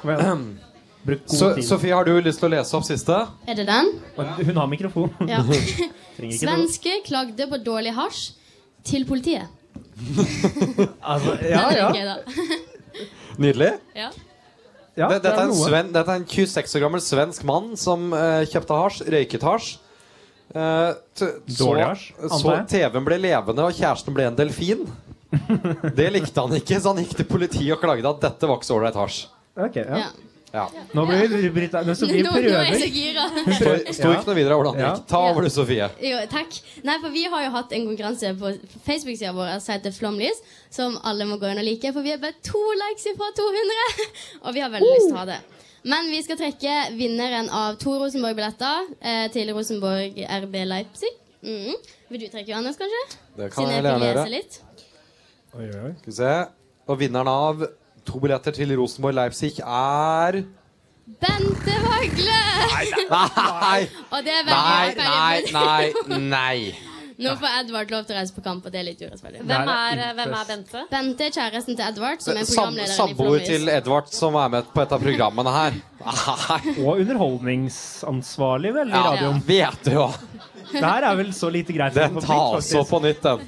[SPEAKER 8] Kom igjen. Bruk god
[SPEAKER 9] Så,
[SPEAKER 8] tid.
[SPEAKER 9] Sofie, har du lyst til å lese opp siste?
[SPEAKER 13] Er det den?
[SPEAKER 8] Hun har mikrofon.
[SPEAKER 13] Ja.
[SPEAKER 8] Trenger ikke noe.
[SPEAKER 13] Svenske klagde på dårlig hasj til politiet.
[SPEAKER 8] Altså,
[SPEAKER 13] den er
[SPEAKER 8] ja,
[SPEAKER 13] gøy,
[SPEAKER 8] ja.
[SPEAKER 13] da.
[SPEAKER 9] Nydelig.
[SPEAKER 13] ja.
[SPEAKER 8] Ja,
[SPEAKER 9] det,
[SPEAKER 8] det
[SPEAKER 9] dette,
[SPEAKER 8] er
[SPEAKER 9] er en
[SPEAKER 8] noe.
[SPEAKER 9] sven, dette er en 26 år gammel svensk mann som eh, kjøpte hasj, røyket hasj. Eh, t så
[SPEAKER 8] Dårlig hasj,
[SPEAKER 9] så
[SPEAKER 8] antar
[SPEAKER 9] TV-en ble levende, og kjæresten ble en delfin. Det likte han ikke, så han gikk til politiet og klagde at dette var ikke så ålreit hasj.
[SPEAKER 8] Ok, ja.
[SPEAKER 13] Ja.
[SPEAKER 9] Ja.
[SPEAKER 8] Nå blir vi Brita Nå
[SPEAKER 13] Nå,
[SPEAKER 8] Sofie
[SPEAKER 13] nå
[SPEAKER 8] prøver.
[SPEAKER 13] er jeg så gira.
[SPEAKER 9] Det står det står ikke noe videre hvordan det
[SPEAKER 8] Ja.
[SPEAKER 9] gikk. Ta over du, Sofie.
[SPEAKER 13] Jo, takk. Nei, for vi har jo hatt en konkurranse på Facebook-sida vår som heter Flomlys, som alle må gå inn og like, for vi er bare to likes ifra 200, og vi har veldig lyst til å ha det. Men vi skal trekke vinneren av to Rosenborg-billetter eh, til Rosenborg RB Leipzig. Mhm. Vil du trekke, Johannes, kanskje?
[SPEAKER 9] Det kan
[SPEAKER 13] Siden
[SPEAKER 9] jeg
[SPEAKER 13] fikk
[SPEAKER 9] gjerne
[SPEAKER 13] lese
[SPEAKER 9] gjøre.
[SPEAKER 13] litt.
[SPEAKER 9] Skal vi se. Og vinneren av to billetter til Rosenborg Leipzig er
[SPEAKER 13] Bente Vagle!
[SPEAKER 9] Nei!
[SPEAKER 13] Og det er
[SPEAKER 9] Nei,
[SPEAKER 13] veldig
[SPEAKER 9] nei, nei. nei.
[SPEAKER 13] Nå får Edvard lov til å reise på kamp, og det er litt urettferdig.
[SPEAKER 9] Hvem Nei, det er er- hvem er
[SPEAKER 13] Bente? Bente er kjæresten til Edvard, som er
[SPEAKER 9] Eh, Sam-
[SPEAKER 13] programlederen
[SPEAKER 9] Samboer
[SPEAKER 13] i Flomlys.
[SPEAKER 9] til Edvard, som er med på et av programmene her. Nei.
[SPEAKER 8] Og underholdningsansvarlig, vel, i
[SPEAKER 9] Ja,
[SPEAKER 8] radioen.
[SPEAKER 9] vet du hva.
[SPEAKER 8] Det her er vel så lite greit.
[SPEAKER 9] Den tas opp på nytt, den.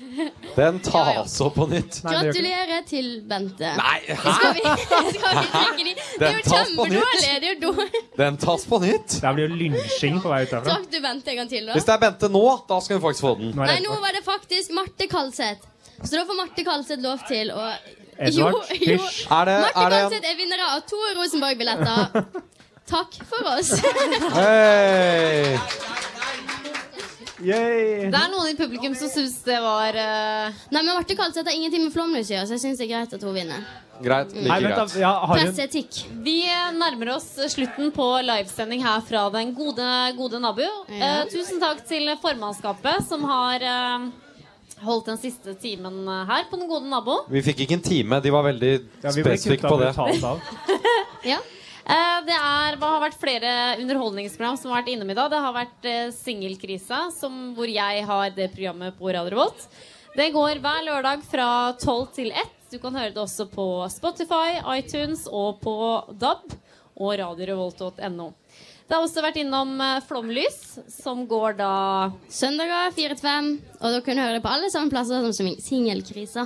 [SPEAKER 9] Den tas opp på nytt.
[SPEAKER 13] Gratulerer til Bente.
[SPEAKER 9] Nei, hæ?
[SPEAKER 13] Skal vi, skal vi trekke de? Det er
[SPEAKER 9] Den
[SPEAKER 13] jo
[SPEAKER 9] tas på nytt.
[SPEAKER 13] kjempedårlig! Det er jo dårlig.
[SPEAKER 9] Den tas på nytt.
[SPEAKER 8] Det blir jo lynsjing på vei ut herfra.
[SPEAKER 13] Trakk du Bente en gang til,
[SPEAKER 9] Hvis
[SPEAKER 13] da?
[SPEAKER 9] det er Bente nå, da skal hun faktisk få den.
[SPEAKER 13] Nei, nå var det faktisk Marte Kalseth. Så da får Marte Kalseth lov til å
[SPEAKER 9] Edvard, hysj. Er det-
[SPEAKER 13] Marte
[SPEAKER 9] er det en-
[SPEAKER 13] Kalseth er vinner av to Rosenborg-billetter. Takk for oss.
[SPEAKER 9] Hei!
[SPEAKER 8] Yay.
[SPEAKER 14] Det er noen i publikum som syns det var eh,
[SPEAKER 13] Nei, men Marte Kalseth har ingenting med Flåmlys å gjøre, så jeg syns det er greit at hun vinner. E
[SPEAKER 9] Greit.
[SPEAKER 8] Nei,
[SPEAKER 9] Like
[SPEAKER 8] vent da,
[SPEAKER 9] greit.
[SPEAKER 8] ja, har hun-
[SPEAKER 13] Presseetikk.
[SPEAKER 14] Vi nærmer oss slutten på livesending her fra den gode, gode nabo. Eh, tusen takk til formannskapet som har eh, holdt den siste timen eh, her på den gode nabo.
[SPEAKER 9] Vi fikk ikke en time. De var veldig
[SPEAKER 8] vi ble
[SPEAKER 9] spesifikke
[SPEAKER 8] kutta
[SPEAKER 9] på det.
[SPEAKER 8] brutalt av.
[SPEAKER 14] Eh, det er, hva har vært flere underholdningsprogram som har vært innom i dag. Det har vært eh, Singelkrisa, som- hvor jeg har det programmet på Radio Revolt. Det går hver lørdag fra 12 til 1. Du kan høre det også på Spotify, iTunes og på DAB og radiorevolt.no. Det har også vært innom eh, Flomlys, som går da
[SPEAKER 13] Søndager 4 til 5, og dere kan høre det på alle samme plasser sånn som Singelkrisa.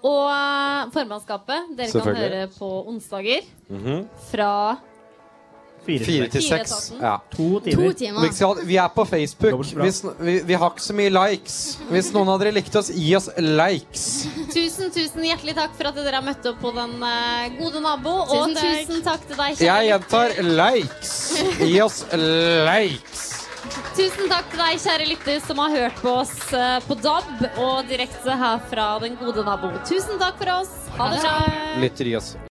[SPEAKER 14] Og eh, formannskapet, dere kan
[SPEAKER 9] Selvfølgelig.
[SPEAKER 14] høre på onsdager
[SPEAKER 9] Mhm.
[SPEAKER 14] fra
[SPEAKER 9] Fire til
[SPEAKER 14] Fire
[SPEAKER 9] seks.
[SPEAKER 14] til
[SPEAKER 9] Ja.
[SPEAKER 8] To
[SPEAKER 14] timer. To timer.
[SPEAKER 9] Vi, skal, vi er på Facebook. Hvis, vi, vi har ikke så mye likes. Hvis noen av dere likte oss, gi oss likes.
[SPEAKER 14] Tusen, tusen hjertelig takk for at dere har møtt opp på Den eh, gode nabo. og
[SPEAKER 13] Tusen takk.
[SPEAKER 14] tusen takk til deg, kjære
[SPEAKER 9] Jeg gjentar likes. Gi oss likes.
[SPEAKER 14] Tusen takk til deg, kjære lytter, som har hørt på oss eh, på DAB og direkte her fra Den gode nabo. Tusen takk for oss. Ha det bra.
[SPEAKER 9] Lytter, gi oss